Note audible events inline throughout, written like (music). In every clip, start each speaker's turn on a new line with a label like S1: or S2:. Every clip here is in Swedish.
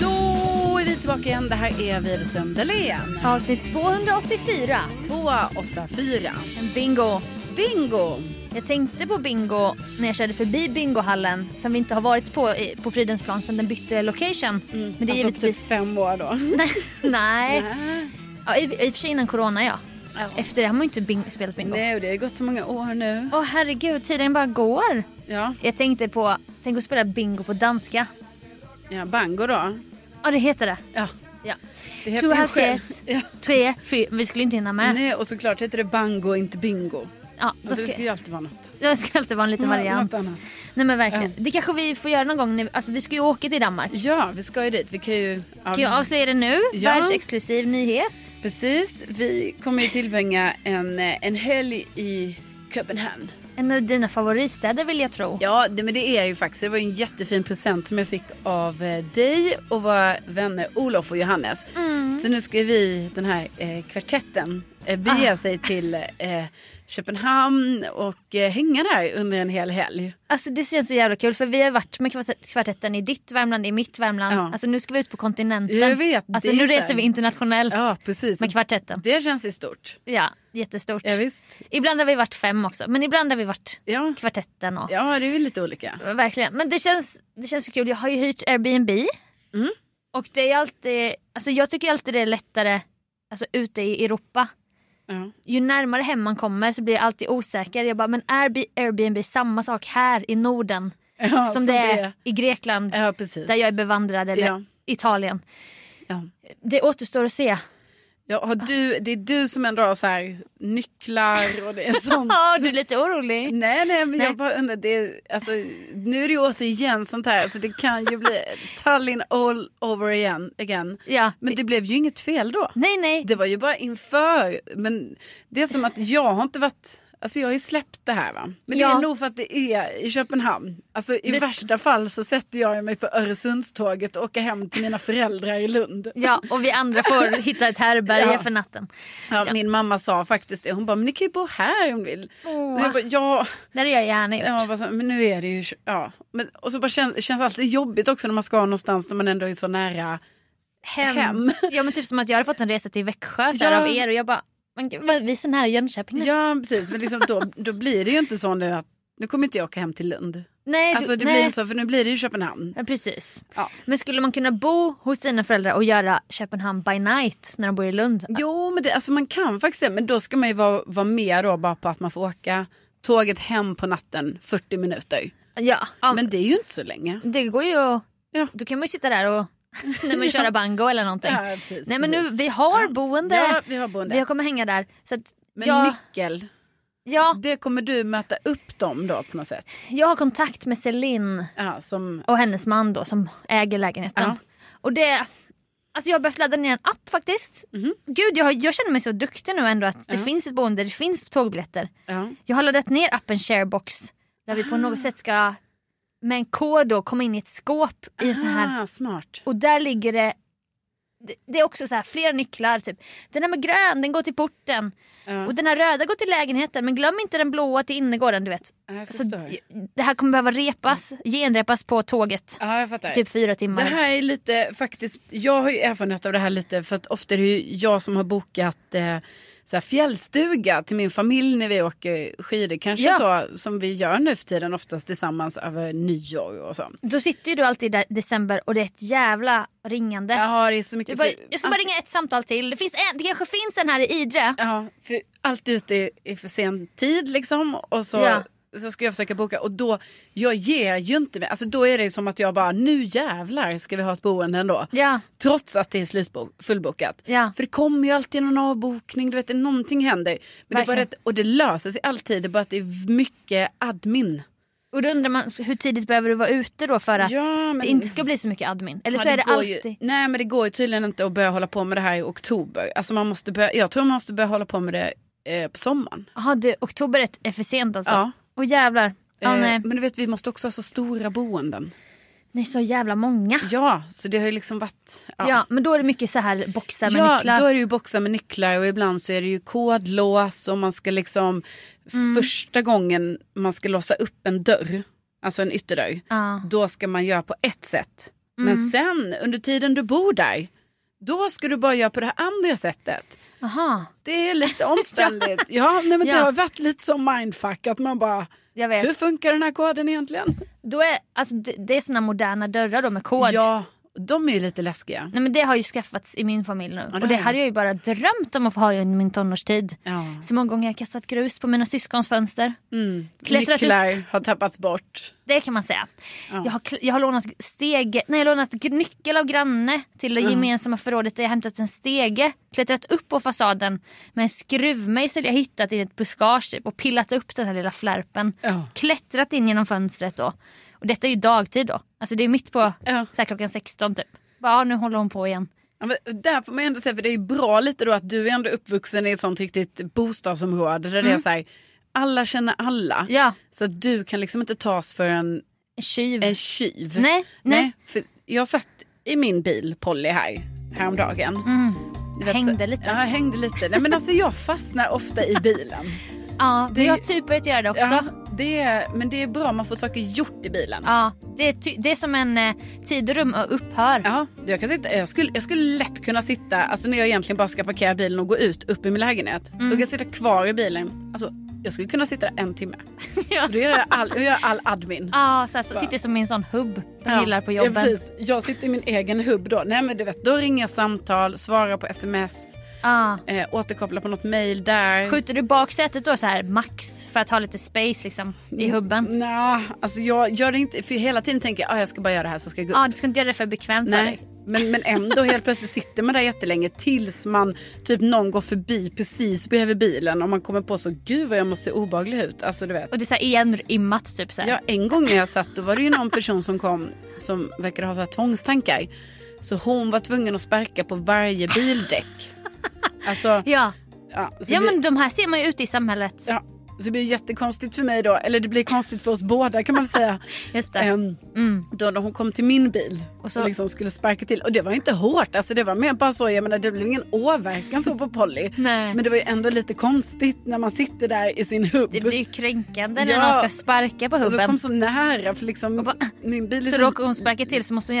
S1: Då är vi tillbaka igen. Det här är Widerström Dahlén.
S2: Avsnitt 284.
S1: 284.
S2: Bingo.
S1: Bingo!
S2: Jag tänkte på bingo när jag körde förbi bingohallen som vi inte har varit på i- på Fridhemsplan sedan den bytte location. Men det är
S1: alltså
S2: givetvis... (laughs)
S1: typ fem år då. (laughs)
S2: Nej. Ja, i, I och för sig innan corona ja. Efter det har man ju inte bing- spelat bingo.
S1: Nej, och det har ju gått så många år nu.
S2: Åh herregud, tiden bara går.
S1: Ja,
S2: Jag tänkte på, tänk att spela bingo på danska.
S1: ja bango då.
S2: Ja det heter det.
S1: Ja,
S2: Ja.
S1: det heter
S2: Två,
S1: ju själv.
S2: halvfjerds,
S1: Ja.
S2: tre, fyra. Vi skulle inte hinna med.
S1: Nej, och såklart heter det bango, inte bingo.
S2: Ja,
S1: Alltså,
S2: då ska,
S1: Det Ah. ska ju alltid vara något.
S2: det ska alltid vara en liten variant.
S1: Något annat.
S2: Nej men verkligen. Det kanske vi får göra någon gång. När, vi- alltså vi ska ju åka till Danmark.
S1: Ja, vi ska ju dit. Vi kan ju... ja,
S2: Kan jag avslöja det nu?
S1: Ja.
S2: Världsexklusiv nyhet.
S1: Precis. Vi kommer ju tillbringa en, eh, en helg i Köpenhamn.
S2: En av dina favoritstäder vill jag tro.
S1: Ja, det, men det är ju faktiskt. Det var ju en jättefin present som jag fick av eh, dig och våra vänner Olof och Johannes.
S2: Mm.
S1: Så nu ska vi, den här eh, kvartetten, eh, bege
S2: Ah.
S1: sig till eh, Köpenhamn och eh, hänga där under en hel helg.
S2: Alltså det känns så jävla kul för vi har varit med kvart- kvartetten i ditt Värmland, i mitt Värmland.
S1: Ja.
S2: Alltså nu ska vi ut på kontinenten.
S1: Jag vet,
S2: alltså
S1: det är
S2: nu
S1: så här-
S2: reser vi internationellt
S1: Ja, precis.
S2: med kvartetten.
S1: Det känns ju stort.
S2: Ja, jättestort.
S1: Ja, visst.
S2: Ibland har vi varit fem också men ibland har vi varit
S1: Ja.
S2: kvartetten och
S1: Ja, det är ju lite olika.
S2: Verkligen. Men det känns, det känns så kul. Jag har ju hyrt Airbnb.
S1: Mm.
S2: Och det är alltid, alltså jag tycker alltid det är lättare alltså ute i Europa.
S1: Ja.
S2: Ju närmare hem man kommer så blir jag alltid osäker. Jag bara, men är Bi- Airbnb samma sak här i Norden
S1: Ja,
S2: som det är i Grekland
S1: Ja, precis.
S2: där jag är bevandrad eller
S1: Ja.
S2: Italien?
S1: Ja.
S2: Det återstår att se.
S1: Ja, har du, det är du som ändå har så här nycklar
S2: (laughs)
S1: och det är sånt. Mm.
S2: Ja, du är lite orolig.
S1: Nej, nej, men
S2: Nej.
S1: jag bara undrar. Det är, alltså, nu är det ju återigen sånt här. Alltså, det kan ju bli Tallinn all over again. again.
S2: Ja.
S1: Men det blev ju inget fel då.
S2: Nej, nej.
S1: Det var ju bara inför. Men det är som att jag har inte varit... Alltså jag har ju släppt det här va. Men det
S2: Ja.
S1: är nog för att det är i Köpenhamn. Alltså i
S2: Det-
S1: värsta fall så sätter jag mig på Öresundståget och åker hem till mina föräldrar i Lund.
S2: Ja, och vi andra får hitta ett
S1: (laughs)
S2: härbärge
S1: Ja.
S2: för natten.
S1: Ja, Min mamma sa faktiskt det. Hon bara, men ni kan ju bo här om ni vill.
S2: Åh.
S1: Så jag bara, ja,
S2: Det hade jag gärna gjort.
S1: ja bara så, här, men nu är det ju... Ja. Men, och så bara känns, känns alltid jobbigt också när man ska någonstans när man ändå är så nära.
S2: hem.
S1: Hem.
S2: (laughs) Ja men typ som att jag hade fått en resa till Växjö så här,
S1: Ja.
S2: av er och jag bara, men gud, vad- vi är så nära Jönköping nu.
S1: Ja, precis. Men liksom, då, då blir det ju inte så nu att nu kommer inte jag åka hem till Lund.
S2: Nej, du,
S1: Alltså det
S2: nej.
S1: blir inte så, för nu blir det ju Köpenhamn.
S2: Ja, precis.
S1: Ja.
S2: Men skulle man kunna bo hos sina föräldrar och göra Köpenhamn by night när de bor i Lund?
S1: Jo, men det, alltså man kan faktiskt det. Men då ska man ju vara, vara med då bara på att man får åka tåget hem på natten 40 minuter.
S2: Ja, ja men
S1: Men det är ju inte så länge.
S2: det går ju att,
S1: Ja.
S2: då kan man ju sitta där och (laughs) nej, men köra bango eller någonting.
S1: Ja, precis,
S2: nej men nu,
S1: precis.
S2: vi har boende.
S1: Ja, vi har boende.
S2: Vi kommer hänga där. Så att
S1: Men
S2: jag,
S1: nyckel.
S2: Ja,
S1: Det kommer du möta upp dem då på något sätt?
S2: jag har kontakt med Celine
S1: Ja, som,
S2: och hennes man då som äger lägenheten.
S1: Ja.
S2: Och det, alltså jag har behövt ladda ner en app faktiskt.
S1: Mhm.
S2: Gud jag, har, jag känner mig så duktig nu ändå att det finns ett boende, det finns tågbiljetter.
S1: ja.
S2: Jag har laddat ner appen Sharebox där
S1: Ah.
S2: vi på något sätt ska med en kod då komma in i ett skåp i en sån här
S1: Ah, smart.
S2: och där ligger det det- det är också så här flera nycklar. Typ. Den här med grön den går till porten.
S1: Ja.
S2: Och den här röda går till lägenheten. Men glöm inte den blåa till innergården. Du vet.
S1: Ja, jag
S2: Så
S1: förstår.
S2: Alltså, d- det här kommer behöva repas, genrepas på tåget.
S1: ja, jag fattar.
S2: Typ fyra timmar.
S1: Det här är lite faktiskt, jag har ju erfarenhet av det här lite för att ofta är det ju jag som har bokat eh, så här fjällstuga till min familj när vi åker skidor. Kanske
S2: Ja.
S1: så som vi gör nu för tiden oftast tillsammans över nyår och så.
S2: Då sitter ju du alltid i december och det är ett jävla ringande.
S1: Jag har det är så
S2: Du
S1: mycket...
S2: bara,
S1: för-
S2: jag ska bara ringa ett samtal till. Det, finns en, det kanske finns en här i Idre.
S1: Ah. Ja, för allt ute är- är för sen tid liksom. Och så,
S2: Ja.
S1: så ska jag försöka boka. Och då, jag ger ju inte mig. Alltså då är det som att jag bara, nu jävlar ska vi ha ett boende ändå.
S2: Ja.
S1: Trots att det är slutbo- fullbokat.
S2: Ja.
S1: För det kommer ju alltid någon avbokning, du vet det- någonting händer. Men det är bara
S2: Verkligen.
S1: att, och det löser sig alltid, det är bara att det är mycket admin.
S2: Och då undrar man hur tidigt behöver du vara ute då för att
S1: Ja, men-
S2: det inte ska bli så mycket admin. Eller så
S1: Ja,
S2: är det
S1: går
S2: alltid.
S1: Ju, nej men det går ju tydligen inte att börja hålla på med det här i oktober. Alltså man måste börja, jag tror man måste börja hålla på med det eh, på sommaren.
S2: Jaha, du, oktober är- är för sent alltså?
S1: Ja.
S2: Och jävlar. Ja,
S1: Eh,
S2: nej.
S1: Men du vet vi måste också ha så stora boenden.
S2: nej, så jävla många.
S1: Ja, så det har ju liksom varit...
S2: Ja. men då är det mycket så här boxar med
S1: Ja,
S2: nycklar.
S1: då är det ju boxar med nycklar och ibland så är det ju kodlås och man ska liksom
S2: Mm.
S1: första gången man ska låsa upp en dörr, alltså en ytterdörr,
S2: Ja. Mm.
S1: då ska man göra på ett sätt. Men sen under tiden du bor där, då ska du bara göra på det här andra sättet.
S2: Aha,
S1: Det är
S2: (laughs)
S1: lite omständigt. ja, nej, men det
S2: Ja.
S1: har varit lite som mindfuck att man bara,
S2: jag
S1: hur
S2: vet.
S1: funkar den här koden egentligen?
S2: Då är, alltså, det, det är såna moderna dörrar då med kod.
S1: Ja, de är ju lite läskiga.
S2: Nej, men det har ju skaffats i min familj nu.
S1: det
S2: och det
S1: har
S2: hade jag ju bara drömt om att få ha i min tonårstid.
S1: Ja.
S2: Så många gånger har jag kastat grus på mina syskons fönster.
S1: Mm.
S2: Klättrat upp.
S1: Nycklar har tappats bort.
S2: Det kan man säga. Jag, har, kl- jag har lånat steg, nej, jag har lånat g- nyckel av granne till det gemensamma förrådet där jag hämtat en stege, klättrat upp på fasaden med en skruvmejsel jag hittat i ett buskage typ, och pillat upp den här lilla flärpen.
S1: Ja.
S2: Klättrat in genom fönstret då. Och detta är ju dagtid då. Alltså det är mitt på
S1: Ja.
S2: så här, klockan 16 typ. Bara, ja, nu håller hon på igen.
S1: Ja, men där får man ju ändå säga, för det är ju bra lite då att du är ändå uppvuxen i ett sånt riktigt bostadsområde där det är så här, alla känner alla.
S2: Mm. Ja,
S1: Så att du kan liksom inte tas för en,
S2: en tjuv.
S1: en tjuv.
S2: Nej, nej.
S1: För jag satt i min bil, Polly, här häromdagen. Du vet,
S2: Mm. Hängde lite.
S1: Ja, jag hängde lite. Nej, men alltså jag fastnar ofta
S2: (laughs)
S1: i bilen.
S2: ja, det...
S1: det-
S2: Jag har typ börjat göra det också.
S1: Ja,
S2: Ja.
S1: det är, men det är bra, man får saker gjort i bilen.
S2: det, är ty- det är som en eh, tid och rum och upphör.
S1: Ja, jag, kan sitta, jag, skulle, jag skulle lätt kunna sitta, alltså när jag egentligen bara ska parkera bilen och gå ut upp i min lägenhet. Då
S2: Mm.
S1: kan jag sitta kvar i bilen. Alltså, jag skulle kunna sitta där en timme.
S2: (laughs) Ja.
S1: Och Då gör jag all, jag gör all admin.
S2: Ja, så här, så sitter jag som i en sån hubb de gillar på
S1: Ja,
S2: jobben.
S1: precis. Jag sitter i min egen hubb då. Nej, men du vet, då ringer jag samtal, svarar på sms,
S2: Ja.
S1: eh, återkopplar på något mail där.
S2: Skjuter du baksätet då så här max för att ha lite space liksom
S1: Mm.
S2: i hubben?
S1: Nja, alltså jag gör det inte, för hela tiden tänker jag ah, jag ska bara göra det här så ska jag gå upp.
S2: Ja, du ska inte göra det för bekvämt för
S1: Nej.
S2: dig.
S1: Men, men ändå helt plötsligt sitter man där jättelänge tills man typ någon går förbi precis bredvid bilen och man kommer på så gud vad jag måste se obehaglig ut. Alltså du vet.
S2: Och det är så här igen immat typ så här.
S1: Ja, en gång när jag satt då var det ju någon person som kom som verkade ha så här tvångstankar. Så hon var tvungen att sparka på varje bildäck. Alltså,
S2: Ja,
S1: ja, så,
S2: ja
S1: det,
S2: men de här ser man ju ute i samhället.
S1: ja, så det blir jättekonstigt för mig då. Eller det blir konstigt för oss båda kan man säga.
S2: (laughs) Just det. Mm.
S1: Ehm, Då när hon kom till min bil och,
S2: så-
S1: liksom skulle sparka till. Och det var inte hårt, alltså det var mer bara så, jag menar det blev ingen åverkan så på Polly.
S2: (laughs) Nej.
S1: Men det var ju ändå lite konstigt när man sitter där i sin hubb.
S2: Det blir ju kränkande
S1: Ja.
S2: när någon ska sparka på
S1: och så
S2: hubben.
S1: kom så nära för liksom
S2: bara-
S1: min bil är
S2: så råkar hon sparka till så måste hon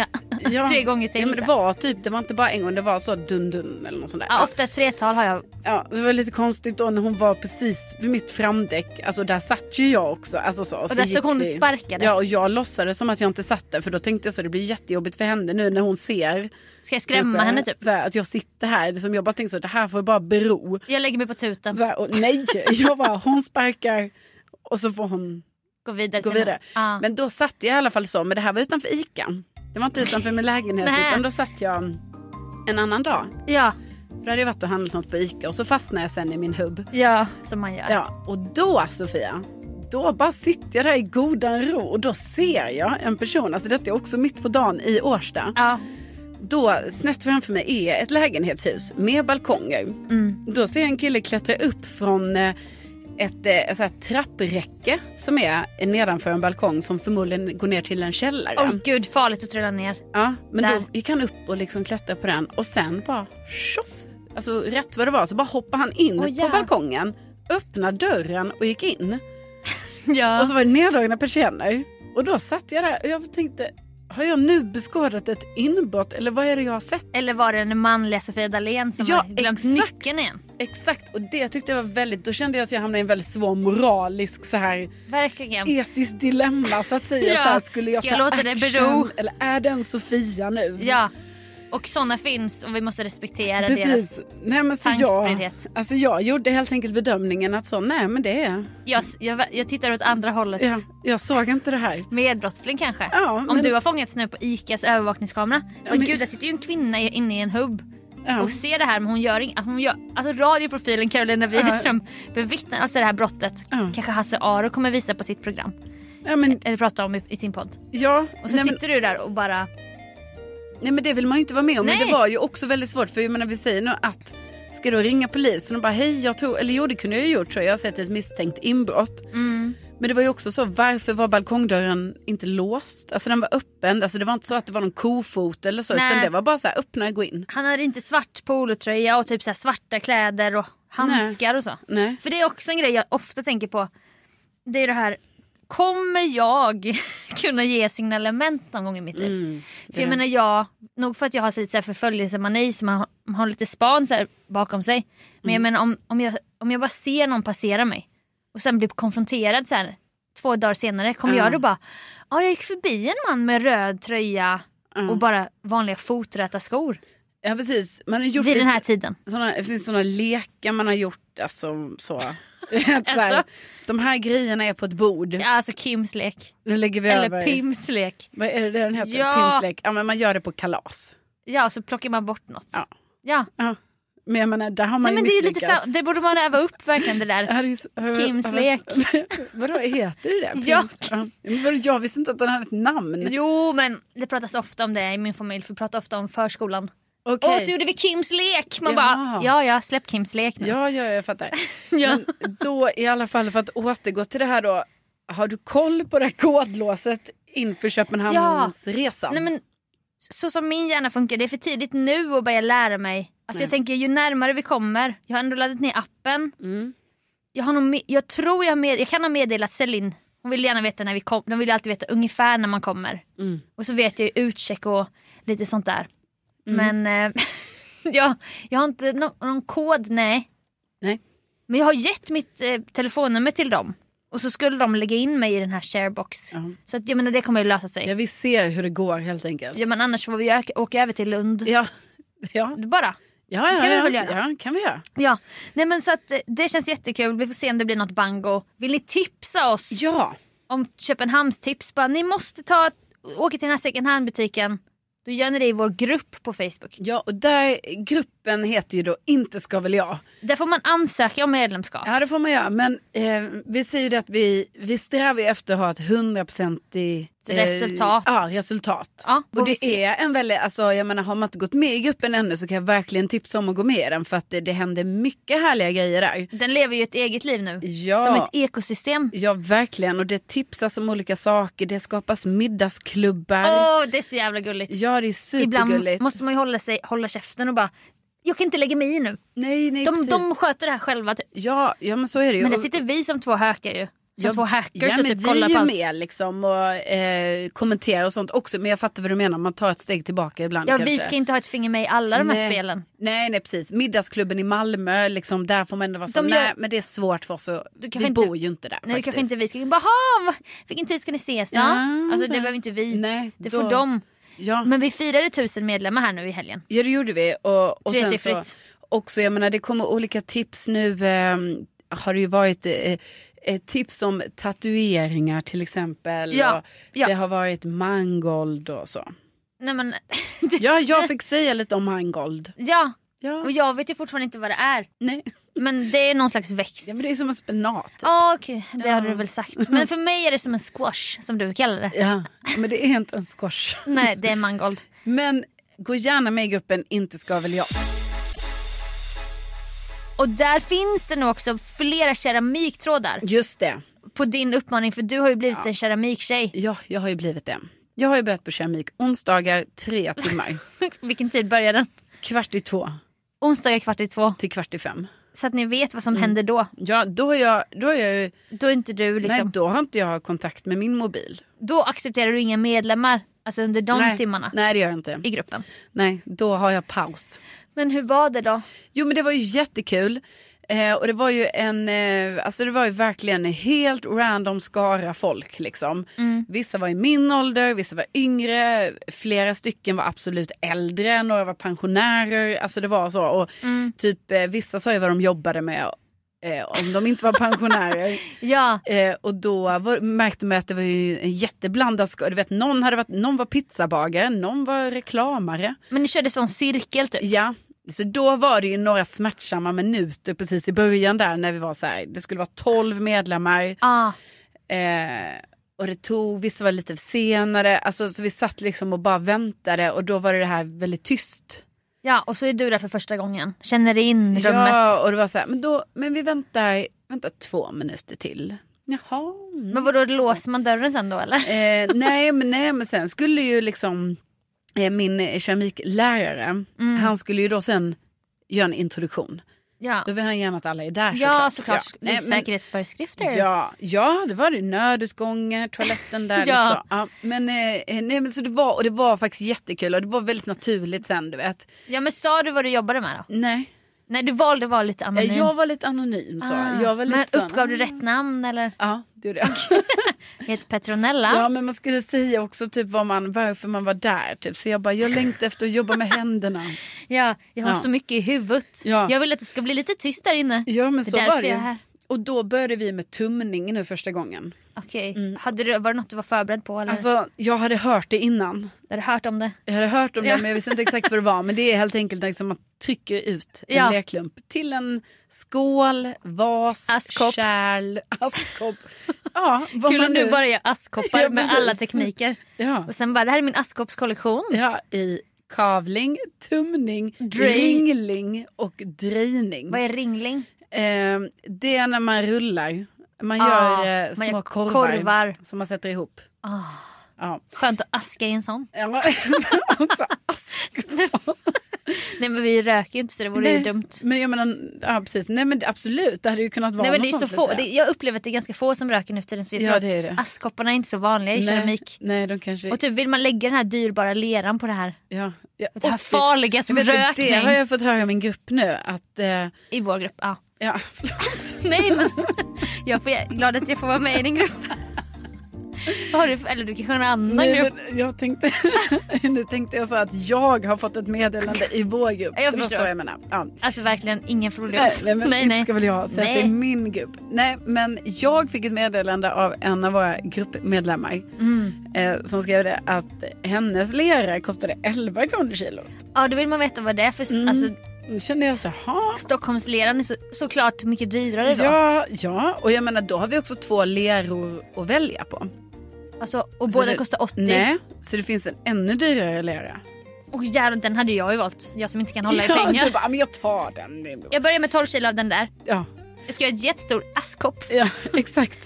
S2: göra (laughs) tre gånger till.
S1: Ja, men det
S2: så här.
S1: var typ, det var inte bara en gång, det var så dun-dun eller något sånt där.
S2: ja, ofta ett tretal har jag.
S1: Ja, det var lite konstigt då när hon var precis vid mitt framdäck. Alltså där satt ju jag också. Alltså så, och
S2: där såg
S1: gick
S2: hon och
S1: vi-
S2: sparkade.
S1: Ja, och jag låtsades som att jag inte satt där för då tänkte jag så det blir jättejobbigt för henne nu när hon ser.
S2: Ska jag skrämma
S1: kanske,
S2: henne typ?
S1: Så här, att jag sitter här. Liksom, jag bara tänkte så det här får bara bero.
S2: Jag lägger mig på tuten.
S1: Så här, och nej, jag bara, hon sparkar och så får hon
S2: Gå vidare.
S1: gå
S2: till
S1: vidare.
S2: någon. Ja.
S1: Men då satt jag i alla fall så, men det här var utanför ICA. Det var inte utanför min lägenhet
S2: Nej.
S1: utan då satt jag en annan dag.
S2: ja.
S1: Då hade jag varit och handlat något på ICA och så fastnade jag sen i min hubb.
S2: Ja, som man gör.
S1: Ja, och då Sofia, då bara sitter jag där i godan ro och då ser jag en person, alltså detta är också mitt på dagen i Årsta.
S2: Ja.
S1: Då snett framför mig är ett lägenhetshus med balkonger.
S2: Mm.
S1: Då ser jag en kille klättra upp från eh, ett, eh, så här trappräcke som är nedanför en balkong som förmodligen går ner till en källare.
S2: Åh gud, farligt att
S1: (laughs)
S2: trilla ner.
S1: Ja, men
S2: Där.
S1: då gick han upp och liksom klättrade på den och sen bara tjoff! Alltså rätt vad det var så bara hoppade han in
S2: Åh, ja.
S1: på balkongen, öppnade dörren och gick in.
S2: Ja.
S1: Och så var det neddragna persienner. Och då satt jag där och jag tänkte, har jag nu beskådat ett inbrott eller vad är det jag har sett?
S2: Eller var det den manliga Sofia Dalén som
S1: Ja,
S2: har glömt
S1: exakt.
S2: nyckeln igen?
S1: Exakt, och det tyckte jag var väldigt, då kände jag att jag hamnade i en väldigt svår moralisk så här
S2: Verkligen.
S1: etiskt Mm. dilemma så att (laughs) säga.
S2: Ja.
S1: så här, skulle jag
S2: Ska
S1: ta
S2: jag låta det
S1: action
S2: bero?
S1: eller är det en Sofia nu?
S2: Ja. Och sådana finns och vi måste respektera deras.
S1: Precis. Nej, men så jag,
S2: tankespriddhet.
S1: alltså jag gjorde helt enkelt bedömningen att så, nej men det är,
S2: Jag, jag, jag tittar åt andra hållet.
S1: ja, jag såg inte det här.
S2: Medbrottsling kanske?
S1: Ja,
S2: Om
S1: men-
S2: du har fångats nu på ICAs övervakningskamera. och
S1: men-
S2: gud, där sitter ju en kvinna i- inne i en hubb
S1: Ja.
S2: och ser det här men hon gör inget. Hon gör, alltså radioprofilen Carolina Widerström bevittnar alltså det här brottet.
S1: Ja.
S2: Kanske Hasse Aro kommer visa på sitt program.
S1: Ja, men,
S2: Eller prata om i, i sin podd.
S1: ja,
S2: Och så
S1: nej, men,
S2: sitter du där och bara...
S1: nej men det vill man ju inte vara med om.
S2: Nej.
S1: Men det var ju också väldigt svårt för jag menar vi säger nu att ska då ringa polisen och bara hej jag tror, eller jo det kunde jag ju gjort så jag har sett ett misstänkt inbrott.
S2: Mm,
S1: Men det var ju också så varför var balkongdörren inte låst? Alltså den var öppen, alltså det var inte så att det var någon kofot eller så
S2: Nej.
S1: utan det var bara så här öppna och gå in.
S2: han hade inte svart polotröja och typ så här svarta kläder och handskar och så.
S1: Nej.
S2: För det är också en grej jag ofta tänker på. Det är det här, kommer jag (laughs) kunna ge signalement någon gång i mitt liv?
S1: Mm,
S2: för jag menar jag, nog för att jag har lite så här förföljelsemani så man har, man har lite span så här bakom sig. Men jag
S1: Mm.
S2: menar om, om, jag, om jag bara ser någon passera mig och sen blir konfronterad så här två dagar senare, kommer
S1: Ja.
S2: jag då bara, ja jag gick förbi en man med röd tröja
S1: Ja.
S2: och bara vanliga foträta skor
S1: Ja precis, man har gjort
S2: vid den
S1: lite-
S2: här tiden.
S1: såna, det finns sådana lekar man har gjort. Alltså,
S2: (laughs)
S1: så. Du vet, så här,
S2: Alltså?
S1: de här grejerna är på ett bord.
S2: Alltså Kims lek,
S1: Nu lägger vi
S2: eller
S1: över.
S2: Pims lek.
S1: Vad är det den heter?
S2: Ja.
S1: Pimslek. Ja, men man gör det på kalas.
S2: Ja, så plockar man bort något.
S1: Ja.
S2: Ja.
S1: Ja. Men jag menar, där har man
S2: Nej, men
S1: ju
S2: det, är lite
S1: misslyckats.
S2: så, det borde man öva upp verkligen det där.
S1: (laughs) Ja, det är så- har jag-
S2: Kims
S1: har jag-
S2: lek.
S1: (laughs) Vadå, heter det det? Pims-
S2: (laughs) Ja.
S1: Ja. Men vadå, Jag visste inte att den hade ett namn.
S2: Jo men det pratas ofta om det i min familj för vi pratar ofta om förskolan.
S1: Okej.
S2: Åh så gjorde vi Kims lek! Man
S1: Jaha.
S2: bara ja ja släpp Kims lek nu.
S1: Ja, ja, jag fattar.
S2: (laughs) Ja.
S1: Men då i alla fall för att återgå till det här då. Har du koll på det här kodlåset inför Köpenhamnsresan?
S2: Nej, men, så som min hjärna funkar, det är för tidigt nu att börja lära mig. Alltså, jag tänker ju närmare vi kommer, jag har ändå laddat ner appen.
S1: Mm.
S2: Jag, har nog, me- jag tror jag, med, jag kan ha meddelat Celine, hon vill gärna veta när vi kommer, de vill ju alltid veta ungefär när man kommer.
S1: Mm.
S2: Och så vet jag ju utcheck och lite sånt där.
S1: Mm.
S2: Men eh, (laughs) jag, jag har inte nå- någon kod, nej.
S1: Nej.
S2: Men jag har gett mitt eh, telefonnummer till dem. Och så skulle de lägga in mig i den här sharebox.
S1: Ja.
S2: Så att, jag menar, det kommer ju lösa sig.
S1: Ja, vi ser hur det går helt enkelt.
S2: Ja men annars får vi öka, åka över till Lund.
S1: Ja, ja.
S2: Bara.
S1: ja, ja
S2: Det kan vi
S1: ja,
S2: väl göra?
S1: Ja, kan vi göra.
S2: Ja. Nej men så att eh, det känns jättekul. Vi får se om det blir något bango. Vill ni tipsa oss
S1: Ja,
S2: om Köpenhamns tips? Bara, ni måste ta, åka till den här second hand butiken. Då gör ni det i vår grupp på Facebook.
S1: ja och där, gruppen heter ju då Inte ska väl jag.
S2: Där får man ansöka om medlemskap.
S1: Ja, det får man göra. Men eh, vi säger ju det att vi, vi strävar ju efter att ha ett hundraprocentigt eh,
S2: Resultat.
S1: Ja, resultat.
S2: Ja, får
S1: och
S2: vi
S1: det
S2: se.
S1: är en väldigt, alltså jag menar har man inte gått med i gruppen ännu så kan jag verkligen tipsa om att gå med i den för att det, det händer mycket härliga grejer där.
S2: Den lever ju ett eget liv nu.
S1: Ja.
S2: Som ett ekosystem.
S1: Ja, verkligen. Och det tipsas om olika saker, det skapas middagsklubbar.
S2: Åh det är så jävla gulligt.
S1: Ja, det är
S2: Ibland
S1: supergulligt.
S2: måste man ju hålla, sig, hålla käften och bara jag kan inte lägga mig i nu.
S1: Nej, nej,
S2: De,
S1: precis.
S2: de sköter det här själva. typ.
S1: Ja, ja, men så är det ju.
S2: Men där
S1: Och-
S2: sitter vi som två hökar ju. Som två hackers
S1: ja,
S2: och
S1: men
S2: typ
S1: vi
S2: kollar
S1: är
S2: på
S1: ju
S2: allt.
S1: med liksom och eh, kommenterar och sånt också. Men jag fattar vad du menar, man tar ett steg tillbaka ibland
S2: Ja,
S1: kanske.
S2: vi ska inte ha ett finger med i alla de här
S1: nej.
S2: spelen.
S1: Nej, nej precis. Middagsklubben i Malmö, liksom, där får man ändå vara så.
S2: De gör-
S1: Nej, men det är svårt för oss att... Vi
S2: kanske inte-
S1: bor ju inte där
S2: Nej, det
S1: faktiskt.
S2: kanske inte vi ska bara ha, va- vilken tid ska ni ses då?
S1: Ja,
S2: alltså
S1: så-
S2: det behöver inte vi.
S1: Nej,
S2: det
S1: då-
S2: får dem.
S1: Ja.
S2: Men vi firade tusen medlemmar här nu i helgen.
S1: Ja det gjorde vi. Och, och sen så,
S2: Tresiffrigt.
S1: också, jag menar det kommer olika tips nu. Eh, har det ju varit eh, eh, tips om tatueringar till exempel.
S2: Ja,
S1: och
S2: ja.
S1: Det har varit mangold och så.
S2: Nej, men, (laughs) det-
S1: Ja, jag fick säga lite om mangold.
S2: ja,
S1: Ja.
S2: Och jag vet ju fortfarande inte vad det är.
S1: Nej.
S2: Men det är någon slags växt.
S1: Ja, men det är som en spenat. typ.
S2: Ja, okej. Det har du väl sagt. Men för mig är det som en squash som du kallar det.
S1: Ja, men det är inte en squash.
S2: Nej, det är mangold.
S1: Men gå gärna med i gruppen Inte ska väl jag.
S2: Och där finns det nog också flera keramiktrådar.
S1: Just det.
S2: På din uppmaning, för du har ju blivit en keramiktjej. (laughs)
S1: Ja, jag har ju blivit det. Jag har ju börjat på keramik onsdagar tre timmar.
S2: Vilken tid börjar den?
S1: kvart i två
S2: Onsdagar kvart i två.
S1: till kvart i fem.
S2: Så att ni vet
S1: Mm.
S2: vad som händer då.
S1: Ja, då har jag, då har jag ju,
S2: Då är inte du liksom...
S1: nej då har inte jag kontakt med min mobil.
S2: Då accepterar du inga medlemmar. Alltså under de
S1: nej.
S2: timmarna
S1: Nej, det gör jag inte.
S2: i gruppen.
S1: Nej, då har jag paus.
S2: Men hur var det då?
S1: Jo men det var ju jättekul. Eh, och det var ju en, eh, alltså det var ju verkligen en helt random skara folk liksom. Vissa var i min ålder, vissa var yngre, flera stycken var absolut äldre, några var pensionärer, alltså det var så. Och typ eh, vissa sa ju vad de jobbade med eh, om de inte var pensionärer.
S2: Ja,
S1: Eh, och då var, märkte man att det var ju en jätteblandad skara. Du vet någon, hade varit, någon var pizzabagare, någon var reklamare.
S2: men ni körde sån cirkel typ.
S1: Ja, så då var det ju några smärtsamma minuter precis i början där när vi var så här, det skulle vara 12 medlemmar
S2: Ja,
S1: eh, och det tog, vissa var lite senare, alltså, så vi satt liksom och bara väntade och då var det det här väldigt tyst.
S2: ja, och så är du där för första gången. Känner in rummet.
S1: Ja, och det var så här, men, då, men vi väntar, väntar två minuter till. Jaha. mm.
S2: Men vadå, låser man dörren sen då eller?
S1: Eh, nej, men, nej, men sen skulle ju liksom eh, min eh, keramiklärare, han skulle ju då sen göra en introduktion.
S2: Ja,
S1: Då vill han gärna att alla är där
S2: ja såklart.
S1: Ja.
S2: Det är
S1: Nej, men-
S2: Säkerhetsföreskrifter.
S1: Ja, ja, det var det. Nödutgångar, toaletten där.
S2: (laughs) Ja.
S1: liksom. ja, men, eh, eh, nej, men så det var, och det var faktiskt jättekul och det var väldigt naturligt sen du vet.
S2: ja, men sa du vad du jobbade med då?
S1: Nej,
S2: Nej, du valde att vara lite
S1: eh,
S2: anonym.
S1: jag var lite anonym så.
S2: Mm, Ah,
S1: jag var lite
S2: men
S1: sån,
S2: uppgav du
S1: ah.
S2: rätt namn eller?
S1: Ja, det gjorde jag.
S2: Jag heter Petronella.
S1: (laughs) Ja, men man skulle säga också typ vad man, varför man var där. Typ. Så jag bara, jag längtar efter att jobba med händerna.
S2: Ja, jag har
S1: Ja.
S2: så mycket i huvudet.
S1: Ja.
S2: Jag vill att det ska bli lite tyst där inne.
S1: Ja, men
S2: det är
S1: så
S2: därför
S1: var det
S2: jag
S1: ju.
S2: är här.
S1: Och då började vi med tumning nu första gången.
S2: Okej, Hade du, var det något du var förberedd på?
S1: Mm.
S2: Eller?
S1: Alltså, jag hade hört det innan.
S2: Har du hört om det?
S1: Jag hade hört om det
S2: Ja.
S1: men jag visste inte exakt vad det var. Men det är helt enkelt liksom att man trycker ut en
S2: Ja.
S1: lerklump till en skål, vas,
S2: Askkopp.
S1: kärl, (laughs) askkopp. Ja, vad
S2: Kul
S1: man
S2: om
S1: nu...
S2: du bara gör askkoppar
S1: Ja,
S2: med
S1: precis.
S2: alla tekniker.
S1: Ja.
S2: Och sen bara, det här är min askkoppskollektion.
S1: ja, i kavling, tumning,
S2: Drej.
S1: ringling och drejning.
S2: Vad är ringling?
S1: Eh, det är när man rullar. Man
S2: Ah,
S1: gör eh,
S2: man
S1: små
S2: gör
S1: korvar,
S2: korvar.
S1: som man sätter ihop. Ja.
S2: Ah, Skönt att aska i en sån. (laughs)
S1: Ja, också
S2: Nej men vi röker ju inte så det vore ju dumt.
S1: Men jag menar, ja precis. Nej men absolut, det hade ju kunnat vara
S2: Nej, men det
S1: något
S2: är så
S1: sånt
S2: få.
S1: lite.
S2: Det, jag upplever att det är ganska få som röker nu för tiden så jag
S1: Ja,
S2: tror
S1: det är det.
S2: att askkopparna är inte så vanliga i keramik.
S1: Nej, nej de kanske...
S2: Och typ vill man lägga den här dyrbara leran på det här,
S1: ja, ja,
S2: det här
S1: 80.
S2: farliga som
S1: Men vet du,
S2: rökning
S1: Det har jag fått höra i min grupp nu att... Eh,
S2: i vår grupp. Ja.
S1: ja, förlåt.
S2: Nej men (laughs) jag får, jag är glad att jag får vara med i din grupp.
S1: (laughs)
S2: Vad har du för, eller du kanske har en annan
S1: Nej,
S2: grupp?
S1: men jag tänkte, (laughs) nu tänkte jag så att jag har fått ett meddelande i vår grupp.
S2: Jag
S1: det var
S2: förstår.
S1: så jag menar. Ja.
S2: Alltså verkligen ingen från vår grupp.
S1: Nej, nej, men
S2: nej,
S1: inte
S2: nej.
S1: ska väl jag säga att det
S2: Nej.
S1: är min grupp. Nej, men jag fick ett meddelande av en av våra gruppmedlemmar
S2: Mm.
S1: eh, som skrev det att hennes lera kostade 11 kronor kilo.
S2: Ja då vill man veta vad det är för
S1: Mm.
S2: alltså,
S1: Nu kände jag så här, "Ha?"
S2: Stockholmsleran är så, såklart mycket dyrare då.
S1: Ja, ja, och jag menar då har vi också två leror att välja på.
S2: Alltså, och
S1: Så
S2: båda
S1: det-
S2: kostar 80.
S1: Nej, så det finns en ännu dyrare lera.
S2: Och jävlar den hade jag ju valt. Jag som inte kan hålla i
S1: (laughs) ja, typ.
S2: pengar.
S1: du bara, "Ja, men jag tar den.
S2: Jag börjar med 12 kilo av den där.
S1: Ja,
S2: Jag ska göra ett jättestor askkopp.
S1: ja (laughs) exakt.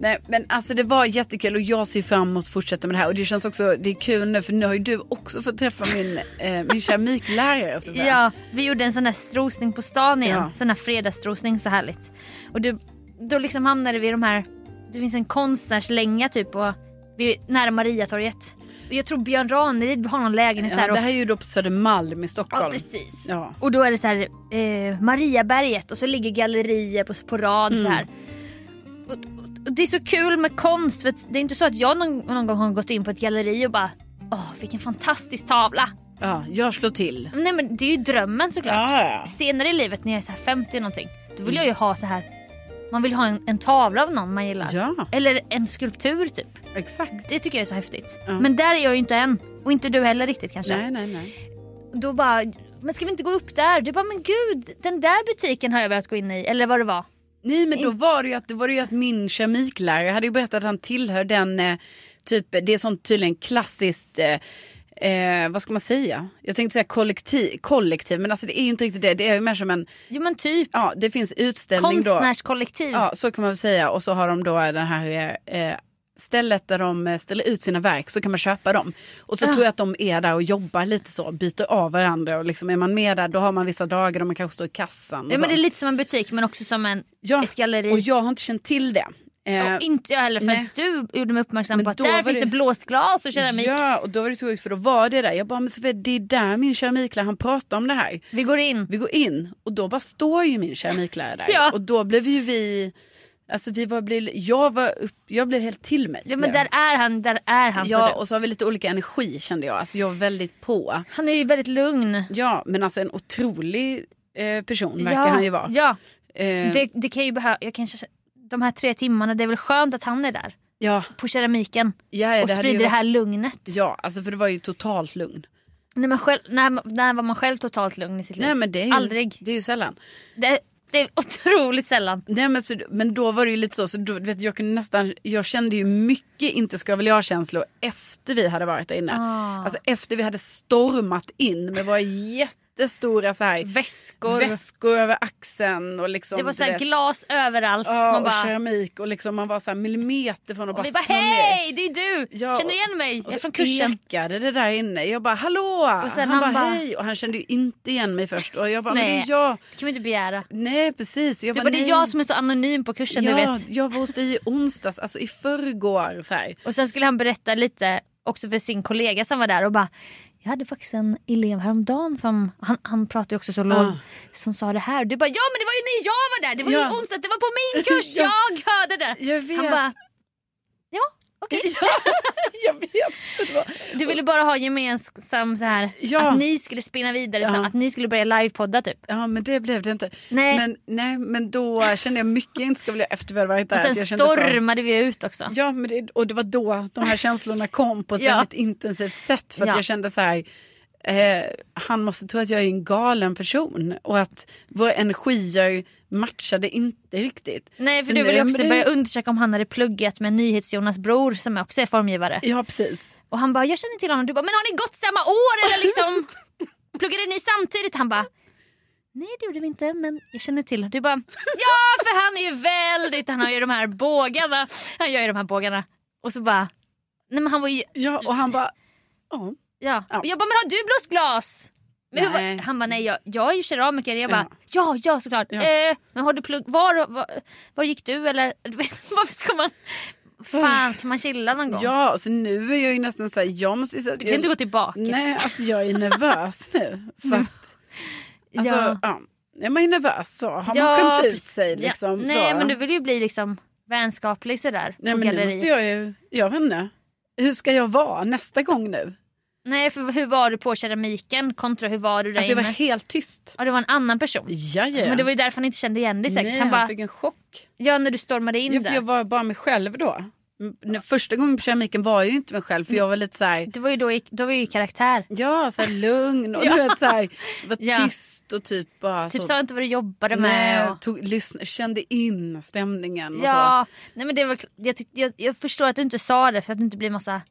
S1: Nej, men alltså det var jättekul och jag ser fram emot att fortsätta med det här. Och det känns också, det är kul nu för nu har ju du också fått träffa min, eh,
S2: (laughs)
S1: min keramiklärare. Så
S2: Ja, vi gjorde en sån där strosning på stan igen.
S1: Ja.
S2: Sån där fredagsstrosning, så härligt. Och du, då liksom hamnade vi i de här, det finns en konstnärslänga typ och vi är nära Mariatorget. Och jag tror Björn Ranelid har någon lägenhet
S1: Ja,
S2: där. Och,
S1: det här är ju då på Södermalm i Stockholm.
S2: ja, precis.
S1: Ja.
S2: Och då är det så här eh, Mariaberget och så ligger gallerier på, på rad
S1: Mm.
S2: så här. Och, och, och det är så kul med konst för att det är inte så att jag någon, någon gång har gått in på ett galleri och bara Åh, vilken fantastisk tavla!
S1: ja, jag slår till.
S2: Nej men det är ju drömmen såklart.
S1: Ja, ja. Mm.
S2: Senare i livet när jag är så här 50 någonting, då vill jag ju ha så här. Man vill ha en, en tavla av någon man gillar.
S1: Ja,
S2: Eller en skulptur typ.
S1: exakt.
S2: Det tycker jag är så häftigt.
S1: Ja.
S2: Men där är jag ju inte än. Och inte du heller riktigt kanske.
S1: Nej, nej, nej.
S2: Då bara men ska vi inte gå upp där? Du bara, men gud, den där butiken har jag velat gå in i. Eller vad det var.
S1: Nej men då var det ju att, då var det ju att min keramiklärare hade ju berättat att han tillhör den eh, typ, det är sånt tydligen klassiskt eh, eh, vad ska man säga? Jag tänkte säga kollektiv, kollektiv men alltså det är ju inte riktigt det. Det är ju mer som en,
S2: Jo men typ
S1: ja det finns utställning då.
S2: konstnärskollektiv.
S1: eh, Ja så kan man väl säga och så har de då den här eh, stället där de eh, ställer ut sina verk så kan man köpa dem. Och
S2: Ah.
S1: så tror jag att de är där och jobbar lite så, byter av varandra och liksom är man med där då har man vissa dagar då man kanske står i kassan. Och
S2: Ja, men
S1: sånt.
S2: det är lite som en butik men också som en,
S1: Ja,
S2: ett galleri.
S1: Och jag har inte känt till det. Eh,
S2: Och inte jag heller förrän
S1: nej.
S2: du gjorde mig uppmärksam
S1: Men
S2: på att
S1: då
S2: där
S1: var
S2: finns
S1: det-
S2: det blåstglas och keramik.
S1: Ja, och då var det så sjukt för då var det där. Jag bara, men Sofia, det är där min keramiklärare, han pratar om det här.
S2: Vi går in.
S1: Vi går in och då bara står ju min keramiklärare där.
S2: (laughs) Ja.
S1: Och då blev ju vi, alltså vi var, blev, jag, var upp, jag blev helt till mig.
S2: Ja, men
S1: blev
S2: där
S1: jag.
S2: är han, där är han.
S1: ja,
S2: Ja,
S1: och så har vi lite olika energi kände jag. Alltså jag var väldigt på.
S2: Han är ju väldigt lugn.
S1: Ja, men alltså en otrolig eh, person verkar
S2: ja,
S1: han ju vara.
S2: Ja,
S1: Eh,
S2: det, det kan ju behöva, jag kanske, de här tre timmarna, det är väl skönt att han är där.
S1: ja,
S2: På keramiken.
S1: ja, ja,
S2: och
S1: det hade ju
S2: sprider det
S1: varit-
S2: här lugnet.
S1: Ja, alltså för det var ju totalt lugn.
S2: När, man själv, när, när var man själv totalt lugn i sitt liv?
S1: Nej, men det är ju,
S2: Aldrig.
S1: Det är ju sällan.
S2: Det, det är otroligt sällan.
S1: Nej, men, så, men då var det ju lite så, så då, du vet, jag, kunde nästan, jag kände ju mycket inte ska väl jag-känslor efter vi hade varit där inne.
S2: Ah.
S1: Alltså efter vi hade stormat in med våra jättestora så här,
S2: Väskor.
S1: väskor över axeln och liksom,
S2: det var
S1: du
S2: så här
S1: vet,
S2: glas överallt.
S1: ja,
S2: man
S1: och
S2: bara,
S1: keramik och liksom, man var så här millimeter från att
S2: och
S1: bara
S2: vi bara
S1: slå ner.
S2: hej, det är du!
S1: Ja,
S2: Känner du
S1: och-
S2: igen mig?
S1: Och
S2: Jag är
S1: så
S2: från kursen.
S1: ekade det där inne. Jag bara hallå!
S2: Och sen
S1: han,
S2: han
S1: bara
S2: bara-
S1: hej! Och han kände ju inte igen mig först. Och jag bara, men det
S2: Nej.
S1: är jag.
S2: Det kan vi inte begära.
S1: Nej precis. Och Jag
S2: Du bara,
S1: bara,
S2: det är
S1: nej.
S2: jag som är så anonym på kursen du
S1: ja,
S2: vet.
S1: jag var hos dig i onsdags, alltså i förrgår. Så här.
S2: Och sen skulle han berätta lite också för sin kollega som var där och bara jag hade faktiskt en elev häromdagen som, han, han pratar ju också så låg,
S1: Ah.
S2: som sa det här. Du bara ja men det var ju när jag var där, det var
S1: Ja.
S2: ju onsdag, det var på min
S1: (laughs)
S2: kurs,
S1: Ja.
S2: jag hörde det.
S1: Jag vet.
S2: Han bara ja okej.
S1: (laughs) Jag vet. Det var...
S2: Du ville bara ha gemensam så här
S1: Ja.
S2: att ni skulle spinna vidare, så,
S1: Ja.
S2: att ni skulle börja livepodda typ.
S1: Ja men det blev det inte.
S2: Nej.
S1: Men, nej, men då kände jag mycket inte ska vilja efter vi hade varit där.
S2: Och
S1: att
S2: sen
S1: jag kände så-
S2: stormade vi ut också.
S1: Ja men det, och det var då de här känslorna kom på ett
S2: Ja.
S1: väldigt intensivt sätt. För att
S2: Ja.
S1: jag kände så här. Eh, han måste tro att jag är en galen person. Och att våra energier matchade inte riktigt.
S2: Nej för
S1: Så
S2: du ville
S1: men
S2: också
S1: det-
S2: börja undersöka om han hade pluggat med NyhetsJonas bror som också är formgivare.
S1: Ja precis.
S2: Och han bara, jag känner till honom. Du bara, men har ni gått samma år eller liksom? (laughs) Pluggade ni samtidigt? Han bara, nej det gjorde vi inte men jag känner till honom. Du bara, ja för han är ju väldigt, han har ju de här bågarna. Han gör ju de här bågarna. Och så bara, nej men han var ju,
S1: Ja och han bara. Ja.
S2: ja.
S1: Ja.
S2: Och jag bara, men har du blåstglas? Men hur
S1: Nej.
S2: var, han bara, nej jag, jag är ju keramiker. Jag bara, ja ja, såklart.
S1: Ja.
S2: Eh, men har du plugg, var, var, var gick du eller? (laughs) Du vet, Varför ska man, fan kan man chilla någon gång?
S1: Ja så nu är jag ju nästan så här. Jag måste ju säga att
S2: Du kan inte gå tillbaka.
S1: Nej, alltså jag är nervös nu.
S2: (laughs)
S1: För att, alltså,
S2: Ja.
S1: ja. Ja, man är nervös så. Har man
S2: Ja,
S1: skämt ut
S2: precis.
S1: sig
S2: Ja.
S1: liksom?
S2: Nej
S1: så.
S2: men du vill ju bli liksom vänskaplig sådär
S1: Nej
S2: på
S1: men nu
S2: galleriet.
S1: måste jag ju, jag vet inte. Hur ska jag vara nästa gång nu?
S2: Nej för hur var du på keramiken kontra hur var du där
S1: Alltså jag var
S2: inne?
S1: helt tyst.
S2: Ja det var en annan person.
S1: Ja, ja.
S2: Men det var ju därför han inte kände igen dig säkert.
S1: Nej,
S2: han
S1: han
S2: bara,
S1: fick en chock.
S2: ja när du stormade in
S1: Ja, för
S2: där.
S1: jag var bara mig själv då. Mm, när- Första gången på keramiken var jag ju inte mig själv för jag var lite så här,
S2: Det var ju då, i- då var jag ju i karaktär.
S1: ja så här lugn
S2: (laughs)
S1: och du vet så här, var
S2: Ja.
S1: tyst och typ bara
S2: Typ
S1: så.
S2: sa inte vad du jobbade med.
S1: Nej,
S2: Och,
S1: tog, lyssn- kände in stämningen och så.
S2: ja, nej men det var, jag, tyck, jag, jag förstår att du inte sa det för att det inte blir massa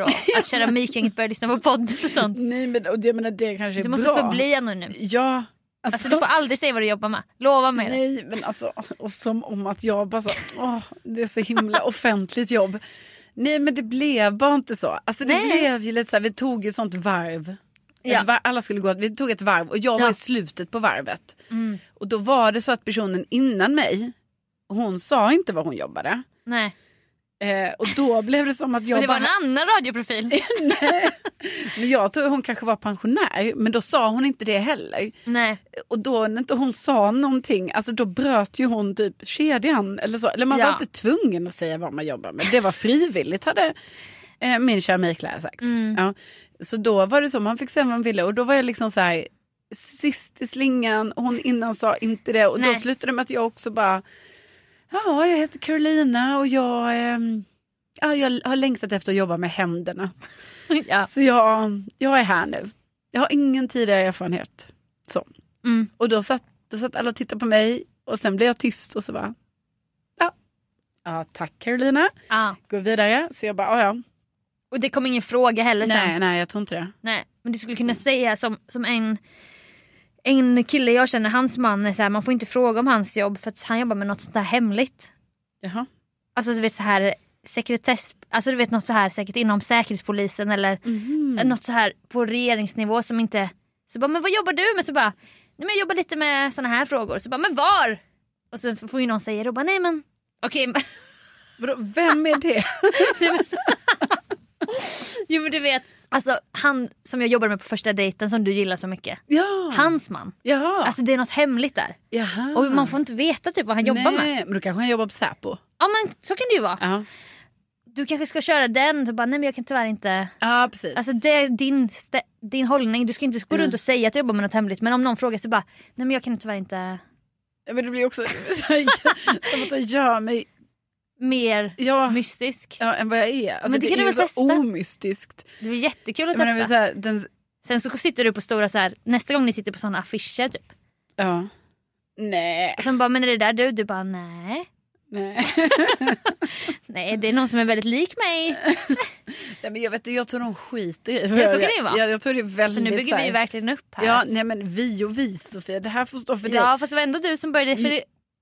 S1: (laughs)
S2: och att keramikgänget börjar lyssna på poddar och sånt.
S1: Nej men och det, jag menar, det kanske är
S2: Du
S1: bra.
S2: måste förbli anonym.
S1: Ja.
S2: Alltså du får aldrig säga vad du jobbar med. Lova mig det.
S1: Nej men alltså, och som om att jag bara så, åh, det är så
S2: (laughs)
S1: himla offentligt jobb. Nej men det blev bara inte så. Alltså det
S2: Nej.
S1: blev ju lite så här, vi tog ju sånt varv.
S2: Ja.
S1: Ett var- Alla skulle gå, vi tog ett varv och jag var
S2: Ja. Mm.
S1: i slutet på varvet. Och då var det så att personen innan mig, hon sa inte var hon jobbade.
S2: Nej.
S1: Eh, och då blev det som att jag
S2: Men det
S1: bara...
S2: var en annan
S1: (laughs)
S2: radioprofil.
S1: Men jag tror hon kanske var pensionär, men då sa hon inte det heller.
S2: Nej.
S1: Och då när inte hon sa någonting, alltså då bröt ju hon typ kedjan. Eller, så. eller man
S2: Ja.
S1: var inte tvungen att säga vad man jobbar med. Det var frivilligt hade eh, min keramiklärare sagt.
S2: Mm.
S1: Ja. Så då var det så, man fick säga vad man ville. Och då var jag liksom så här, sist i slingan, och hon innan sa inte det. Och
S2: Nej.
S1: då slutade det med att jag också bara, ja jag heter Carolina och jag, ehm, ja, jag har längtat efter att jobba med händerna.
S2: Ja.
S1: Så jag, jag är här nu. Jag har ingen tidigare erfarenhet. Så.
S2: Mm.
S1: Och då satt, då satt alla och tittade på mig och sen blev jag tyst och så bara, ja, ja tack Carolina,
S2: Ja.
S1: gå vidare. Så jag bara, ja ja.
S2: Och det kom ingen fråga heller sen.
S1: Nej, nej jag tror inte det.
S2: Nej, men du skulle kunna säga som, som en, en kille jag känner, hans man är så här, man får inte fråga om hans jobb för att han jobbar med något sånt här hemligt.
S1: Jaha.
S2: Alltså du vet så här sekretess, alltså du vet något så här säkert inom säkerhetspolisen eller
S1: Mhm.
S2: något så här på regeringsnivå som inte, så bara men vad jobbar du med? Så bara, nej men jag jobbar lite med såna här frågor. Så bara men var? Och så får ju någon säga då bara nej men (laughs) okej.
S1: Vadå, vem är
S2: (laughs)
S1: det?
S2: jo men du vet, alltså han som jag jobbade med på första dejten som du gillar så mycket.
S1: ja.
S2: Hans man.
S1: Jaha.
S2: Alltså det är något hemligt där.
S1: Jaha.
S2: Och man får inte veta typ vad han jobbar med.
S1: Nej, men då kanske han jobbar på Säpo.
S2: Ja men så kan det ju vara.
S1: Ja,
S2: Du kanske ska köra den, så bara nej men jag kan tyvärr inte.
S1: ja precis.
S2: Alltså det är din, stä- din hållning, du ska inte gå
S1: Mm.
S2: runt och säga att du jobbar med något hemligt men om någon frågar så bara nej men jag kan tyvärr inte
S1: Ja, Men det blir också (laughs) som att jag gör mig
S2: mer
S1: ja,
S2: mystisk.
S1: ja, än vad jag är. Alltså,
S2: Men det
S1: det,
S2: kan du
S1: är ju
S2: väl
S1: så
S2: testa?
S1: omystiskt.
S2: Det blir jättekul att
S1: Jag menar, det är så
S2: testa.
S1: här, den,
S2: Sen så sitter du på stora så här, nästa gång ni sitter på såna affischer typ.
S1: ja. Nej.
S2: Och sen bara men är det där du? Du bara nej.
S1: Nej.
S2: Nej det är någon som är väldigt lik mig.
S1: (laughs) Mm. nej men jag, vet, jag tror de skiter i
S2: Ja, så kan det ju vara.
S1: Jag, jag tror det är väldigt
S2: Så Alltså, nu bygger vi ju
S1: här-
S2: verkligen upp här.
S1: Ja, nej men vi och vi Sofia, det här får stå för dig.
S2: ja fast det var ändå du som började för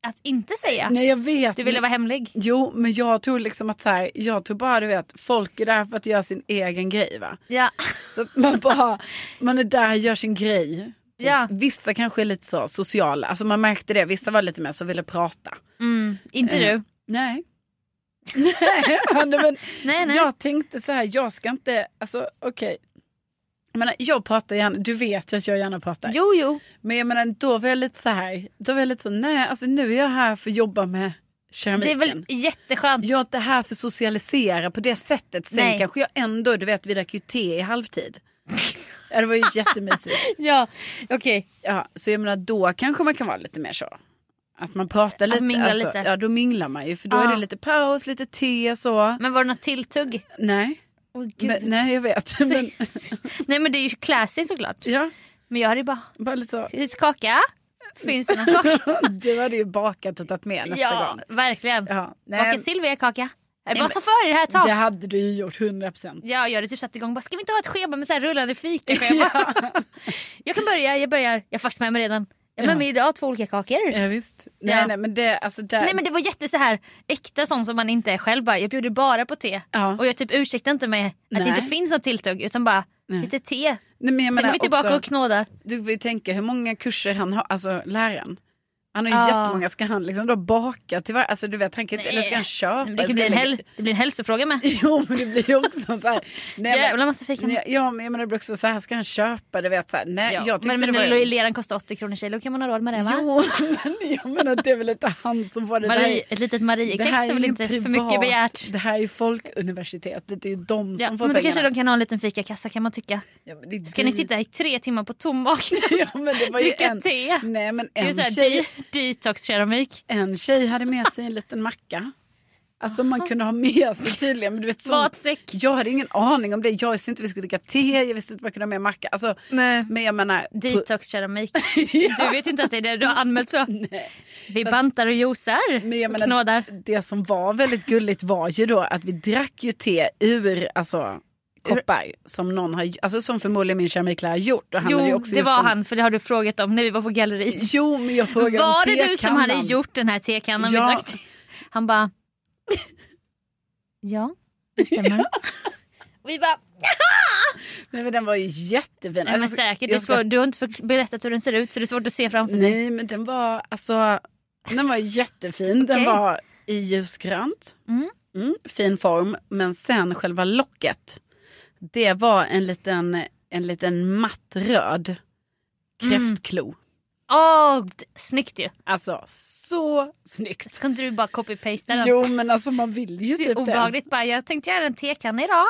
S2: att inte säga.
S1: Nej jag vet.
S2: Du ville
S1: men-
S2: vara hemlig.
S1: Jo, men jag tror liksom att så här, jag tror bara du vet, folk är där för att göra sin egen grej va.
S2: Ja.
S1: Så att man bara,
S2: (laughs)
S1: man är där och gör sin grej. Typ.
S2: Ja.
S1: Vissa kanske är lite så sociala, alltså man märkte det, vissa var lite mer så ville prata.
S2: Mm, inte
S1: Eh,
S2: du.
S1: Nej. (laughs) nej, Anna, men
S2: Nej, nej.
S1: jag tänkte så här, jag ska inte, alltså okej. Jag menar, jag pratar gärna, du vet ju att jag gärna pratar.
S2: Jo, jo.
S1: Men jag menar, då var jag lite så här, då var jag lite så, nej alltså nu är jag här för att jobba med
S2: Det är
S1: keramiken.
S2: väl jätteskönt.
S1: Jag är inte här för att socialisera på det sättet. Sen
S2: Nej.
S1: kanske jag ändå, du vet vi drack ju te i
S2: (laughs)
S1: halvtid. ja, det var ju jättemysigt.
S2: Ja, okej.
S1: Ja, så jag menar då kanske man kan vara lite mer så. Att man pratar lite. alltså,
S2: mingla lite.
S1: Ja då minglar man ju för då
S2: Ja.
S1: är det lite paus, lite te så.
S2: Men var det något tilltugg?
S1: Nej,
S2: Åh, gud.
S1: men,
S2: (laughs)
S1: nej jag vet. (laughs) Men,
S2: nej men det är ju classy såklart.
S1: ja,
S2: Men jag hade ju bara,
S1: bara lite så.
S2: finns kaka? Finns det någon kaka?
S1: Du hade ju bakat och tagit med (laughs) nästa
S2: ja,
S1: gång.
S2: verkligen.
S1: Ja,
S2: Baka
S1: nej,
S2: Silvia kaka? Nej, bara
S1: men-
S2: ta för er det här ett tag.
S1: det hade du ju gjort 100 procent.
S2: Ja, jag hade typ satt igång bara, ska vi inte ha ett schema med så här
S1: (laughs)
S2: rullande fikaschema? (laughs) jag kan börja, jag börjar. Jag har faktiskt med mig redan. Jag har med mig idag två olika kakor.
S1: Ja, visst. Nej,
S2: Ja.
S1: nej men det, alltså där.
S2: Nej men det var jätte så här äkta sånt som man inte är själv bara, jag bjuder bara på te.
S1: Ja.
S2: Och jag typ ursäktar inte mig att
S1: Nej.
S2: det inte finns något tilltugg utan bara
S1: Nej.
S2: lite te.
S1: nej, men jag
S2: Sen
S1: menar
S2: går vi tillbaka
S1: också-
S2: och knådar.
S1: Du får ju tänka hur många kurser han har, alltså läraren. Han har ju
S2: Ja.
S1: jättemånga, ska han liksom då baka till varje, alltså du vet han kan inte,
S2: Nej.
S1: eller ska han köpa? Alltså,
S2: Nej, Eh, men Det,
S1: Ska
S2: kan bli en
S1: han
S2: häl-
S1: lägga-
S2: det blir en hälsofråga med.
S1: (laughs) Jo men det blir ju också så här. Nej,
S2: Jävla massa fika.
S1: men, ja men jag menar det blir också så här, ska han köpa? Du vet så här, nej
S2: Ja.
S1: jag tyckte
S2: men men
S1: det var...
S2: när leran kostar 80 kronor kilo kan man ha råd med det va?
S1: Jo (laughs) men jag menar det är väl inte han som får det
S2: Marie,
S1: där.
S2: ett litet Mariekex är, väl
S1: ju
S2: inte för
S1: privat.
S2: mycket begärt.
S1: Det här är ju folkuniversitetet, det är ju de
S2: Ja,
S1: som
S2: men
S1: får
S2: då
S1: pengarna.
S2: kanske de kan ha en liten fikakassa kan man tycka.
S1: ja, men det är
S2: Ska ni
S1: dyrt.
S2: sitta i tre timmar på tom mage?
S1: (laughs) Ja, men det var ju
S2: Dricka
S1: en...
S2: te?
S1: Nej men
S2: Det är
S1: en
S2: så här
S1: tjej
S2: de- detox-keramik.
S1: En tjej hade med sig en liten macka. Alltså man kunde ha med sig tydligen. Men du vet, sånt-
S2: Matsäck.
S1: jag hade ingen aning om det. Jag visste inte vi skulle dricka te. Jag visste inte man kunde ha med macka. Alltså,
S2: Nej.
S1: Men jag menar. pu- (laughs)
S2: Detox-keramik. Du vet ju inte att det är det du har anmält för. Vi bantar och juicar
S1: men jag
S2: och
S1: menar,
S2: knådar.
S1: Det som var väldigt gulligt var ju då att vi drack ju te ur alltså, koppar som någon har, alltså som förmodligen min keramiklärare gjort. Och han hade ju
S2: Jo,
S1: också
S2: det
S1: gjort
S2: var
S1: en-
S2: han, för det har du frågat om när vi var på galleriet.
S1: Jo, men jag frågade om
S2: Var det du som
S1: tekannan.
S2: hade gjort den här tekannan
S1: Ja.
S2: vi drack? till? Han bara... Ja, det stämmer. (laughs) Vi bara...
S1: Nej, men den var ju jättefin.
S2: Nej, men
S1: Alltså,
S2: säkert, det är
S1: jag ska
S2: svårt. du har inte för- berättat hur den ser ut så det är svårt att se framför sig.
S1: Nej, men den var alltså, den var jättefin. Den
S2: Okej.
S1: var i ljusgrönt.
S2: Mm.
S1: Mm, fin form, men sen själva locket. Det var en liten, en liten matt röd
S2: Mm.
S1: kräftklo.
S2: Åh, d- snyggt ju.
S1: Alltså så snyggt.
S2: Ska inte du bara copy-pasta den?
S1: Jo men alltså man vill ju
S2: Så
S1: typ det.
S2: obehagligt bara, jag tänkte göra en
S1: (laughs)
S2: tekanna idag.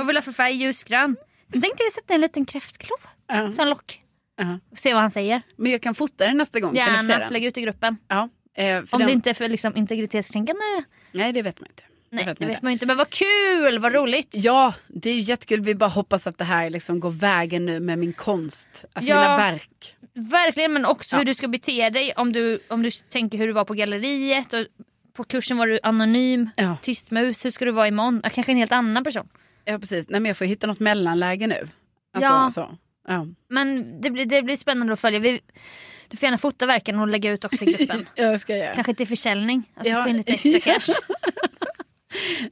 S2: och vill ha för färg ljusgrön. Sen tänkte jag sätta en liten kräftklo
S1: Ja,
S2: som lock.
S1: ja.
S2: Och se vad han säger.
S1: Men jag kan fota den nästa gång. Kan du se
S2: Gärna,
S1: den?
S2: lägg ut i gruppen.
S1: Ja, eh, för
S2: Om
S1: den,
S2: det inte är för liksom, integritetskränkande.
S1: Nej det vet man inte.
S2: Nej,
S1: vet
S2: det
S1: man
S2: vet
S1: inte.
S2: man ju inte. Men vad kul, vad roligt.
S1: Ja, det är ju jättekul. Vi bara hoppas att det här liksom går vägen nu med min konst. Alltså
S2: Ja.
S1: mina verk.
S2: Verkligen, men också hur du ska bete dig. Om du, om du tänker hur du var på galleriet. Och på kursen var du anonym,
S1: Ja.
S2: tyst mus. Hur ska du vara imorgon? Ja, Kanske en helt annan person.
S1: Ja, precis. Nej, men jag får hitta något mellanläge nu. Alltså,
S2: Ja.
S1: så. Ja.
S2: Men det blir, det blir spännande att följa. Vi, du får gärna fota verken och lägga ut också i gruppen.
S1: (laughs) ja, det ska jag göra.
S2: Kanske till försäljning. Alltså
S1: (laughs) Ja.
S2: få in lite extra cash.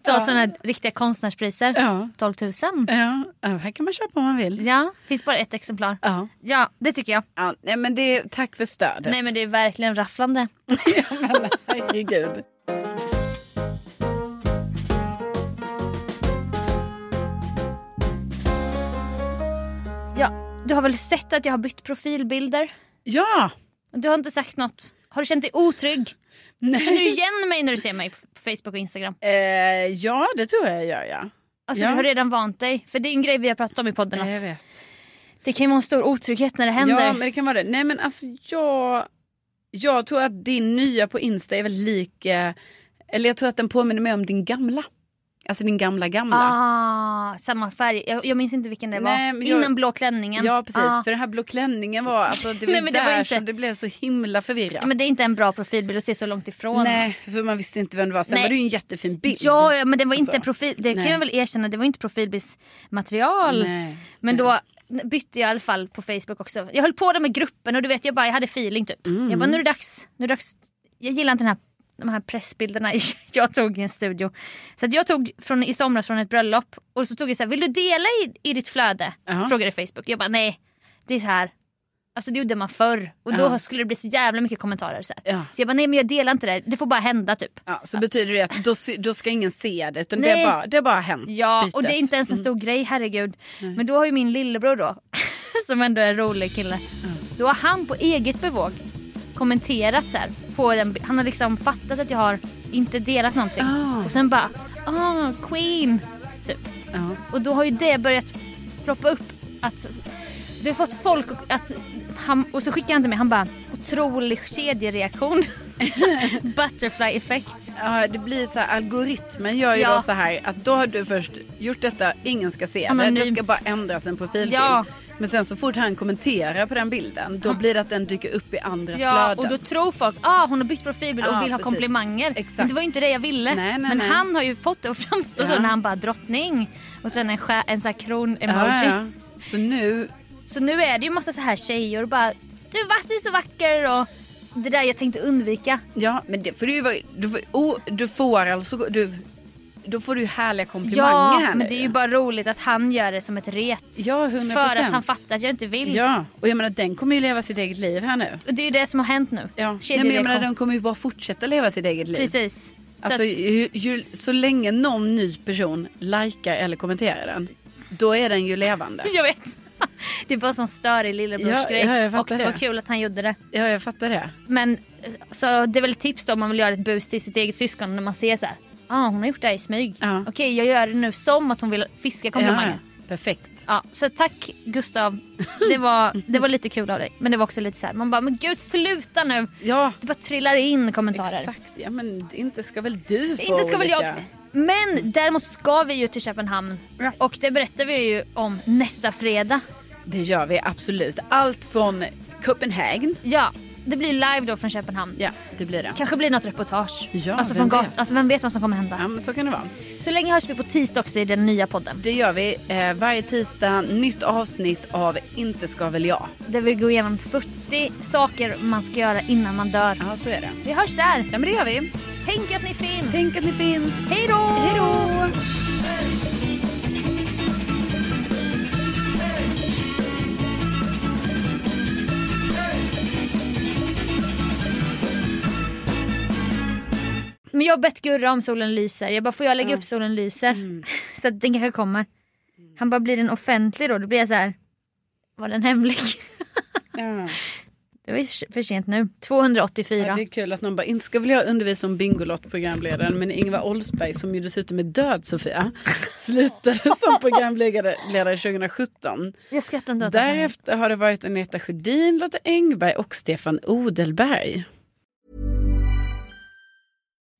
S2: Ta sådana här riktiga konstnärspriser.
S1: Ja.
S2: 12 000.
S1: Ja. ja, här kan man köpa om man vill.
S2: Ja, finns bara ett exemplar.
S1: Ja.
S2: Ja, det tycker jag.
S1: ja nej, men det, tack för stödet.
S2: Nej men det är verkligen rafflande.
S1: (laughs) Herregud.
S2: Ja, du har väl sett att jag har bytt profilbilder?
S1: Ja!
S2: Du har inte sagt något. Har du känt dig otrygg? Känner du igen mig när du ser mig på på Facebook och Instagram?
S1: Eh, ja, det tror jag jag gör, ja.
S2: Alltså
S1: Ja.
S2: du har redan vant dig. För det är en grej vi har pratat om i podden.
S1: Jag
S2: Att
S1: vet.
S2: det kan ju vara en stor otrygghet när det händer.
S1: Alltså, Ja, men det kan vara det. Nej, men alltså jag... Jag tror att din nya på Insta är väldigt lik... eh, Eller jag tror att den påminner mig om din gamla. Alltså din gamla gamla.
S2: Ah, samma färg. Jag, jag minns inte vilken det
S1: Nej,
S2: var.
S1: men jag-
S2: Innan blå klänningen.
S1: Ja precis,
S2: Ah.
S1: för den här blå klänningen var, alltså, det var
S2: (laughs) Nej, men det
S1: där
S2: var inte-
S1: som det blev så himla förvirrat.
S2: Men det är inte en bra profilbild att se så långt ifrån.
S1: Nej, för man visste inte vem det var. Sen
S2: Nej.
S1: var det ju en jättefin bild.
S2: Ja, ja, men det var inte
S1: Alltså,
S2: profil. Det
S1: nej.
S2: kan jag väl erkänna. Det var inte profilbildsmaterial.
S1: Nej,
S2: Men då bytte jag i alla fall på Facebook också. Jag höll på där med gruppen och du vet jag bara jag hade feeling typ.
S1: Mm.
S2: Jag bara nu är det dags. Nu är det dags. Jag gillar inte den här, de här pressbilderna (laughs) jag tog i en studio. Så att jag tog från, i somras från ett bröllop och så tog jag så här, vill du dela i, i ditt flöde?
S1: Jaha.
S2: Så frågade Facebook. Jag bara nej, det är så här. Alltså det gjorde man förr och då
S1: Ja.
S2: skulle det bli så jävla mycket kommentarer. Så, här.
S1: Ja.
S2: så jag bara nej men jag delar inte det, det får bara hända typ.
S1: ja, så betyder det att då, sy- då ska ingen se det utan det
S2: Nej.
S1: har bara, det har bara hänt.
S2: Ja, och
S1: bytet.
S2: det är inte ens en stor grej, herregud. Men då har ju min lillebror då, (laughs) som ändå är en rolig kille, då har han på eget bevåg kommenterat så här. På den, han har liksom fattat att jag har inte delat någonting. Och sen bara, ah, Queen. Typ.
S1: Ja.
S2: Och då har ju det börjat ploppa upp. Att du har fått folk och, att, han, och så skickar han till mig, han bara, otrolig kedjereaktion. (laughs) Butterfly effekt.
S1: Ja, det blir så här, algoritmen gör ju
S2: Ja.
S1: då så här att då har du först gjort detta, ingen ska se det, det
S2: Anonymt.
S1: ska bara ändras en profilbild.
S2: Ja.
S1: Men sen så fort han kommenterar på den bilden, då blir det att den dyker upp i andras
S2: Ja,
S1: flöden.
S2: och då tror folk ah, hon har bytt profilbild
S1: Ja,
S2: och vill ha
S1: precis.
S2: komplimanger.
S1: Exakt.
S2: Men det var ju inte det jag ville.
S1: Nej, nej,
S2: men
S1: nej.
S2: han har ju fått det att framstå
S1: Ja.
S2: så när han bara drottning och sen en, skär, en sån här
S1: ja,
S2: kron-emoji.
S1: ja. Så nu,
S2: Så nu är det ju massa så här tjejer och bara du, är vass, du är så vacker och det där jag tänkte undvika.
S1: ja men det får du ju vara, du får, oh, du får alltså, du, då får du ju härliga komplimanger
S2: Ja,
S1: här
S2: men
S1: nu.
S2: det är ju bara roligt att han gör det som ett ret.
S1: Ja, 100%.
S2: För att han fattar att jag inte vill.
S1: Ja, och jag menar den kommer ju leva sitt eget liv här nu.
S2: Och det är ju det som har hänt nu.
S1: Ja. Nej, men jag
S2: Kedjereaktion.
S1: menar den kommer ju bara fortsätta leva sitt eget liv.
S2: Precis. Så
S1: Alltså,
S2: att- (laughs)
S1: ju, ju, så länge någon ny person likar eller kommenterar den, då är den ju
S2: (laughs)
S1: levande.
S2: Jag vet. Det var en sån störig lillebrors-grej.
S1: Ja, ja, jag fattar
S2: och det,
S1: det.
S2: var kul att han gjorde det.
S1: Ja, jag fattar det.
S2: Men eh, så det är väl ett tips då om man vill göra ett bus till sitt eget syskon när man ser så här. ah, hon har gjort det här i smyg.
S1: Ja.
S2: Okej, jag gör det nu som att hon vill fiska komplimangen. Ja.
S1: Ja, perfekt.
S2: så tack Gustav. Det var, det var lite kul av dig. Men det var också lite så här, man bara, men gud sluta nu.
S1: Ja,
S2: Det bara trillar in kommentarer.
S1: exakt. Ja, men inte ska väl du få
S2: Inte ska väl jag.
S1: olika-
S2: Men däremot ska vi ju till Köpenhamn.
S1: Ja.
S2: Och det berättar vi ju om nästa fredag.
S1: Det gör vi absolut. Allt från Copenhagen.
S2: Ja, det blir live då från Köpenhamn.
S1: Ja, det blir det.
S2: Kanske blir något reportage.
S1: Ja,
S2: alltså,
S1: vem
S2: från gat-
S1: vet?
S2: alltså vem vet vad som kommer hända.
S1: Ja, men så kan det vara.
S2: Så länge hörs vi på tisdag också i den nya podden.
S1: Det gör vi eh, varje tisdag. Nytt avsnitt av Inte ska väl jag.
S2: Där vi går igenom 40 saker man ska göra innan man dör.
S1: Ja, så är det.
S2: Vi hörs där.
S1: Ja, men det gör vi.
S2: Tänk att ni finns.
S1: Tänk att ni finns.
S2: Hej då!
S1: Hej då!
S2: Men jag har bett Gurra om solen lyser. Jag bara, får jag lägga upp solen lyser? (laughs) Så att den kanske kommer. Han bara, blir den offentlig då? Då blir jag så här. var den hemlig? (laughs)
S1: Ja.
S2: Det var ju för sent nu. 284.
S1: Ja, det är kul att någon bara, inte ska väl jag undervisa om Bingolott programledaren men Ingvar Oldsberg som ju dessutom är död Sofia, slutade som programledare ledare 2017.
S2: Jag skrattar inte åt det.
S1: Därefter har det varit Agneta Sjödin, Lotta Engberg och Stefan Odelberg.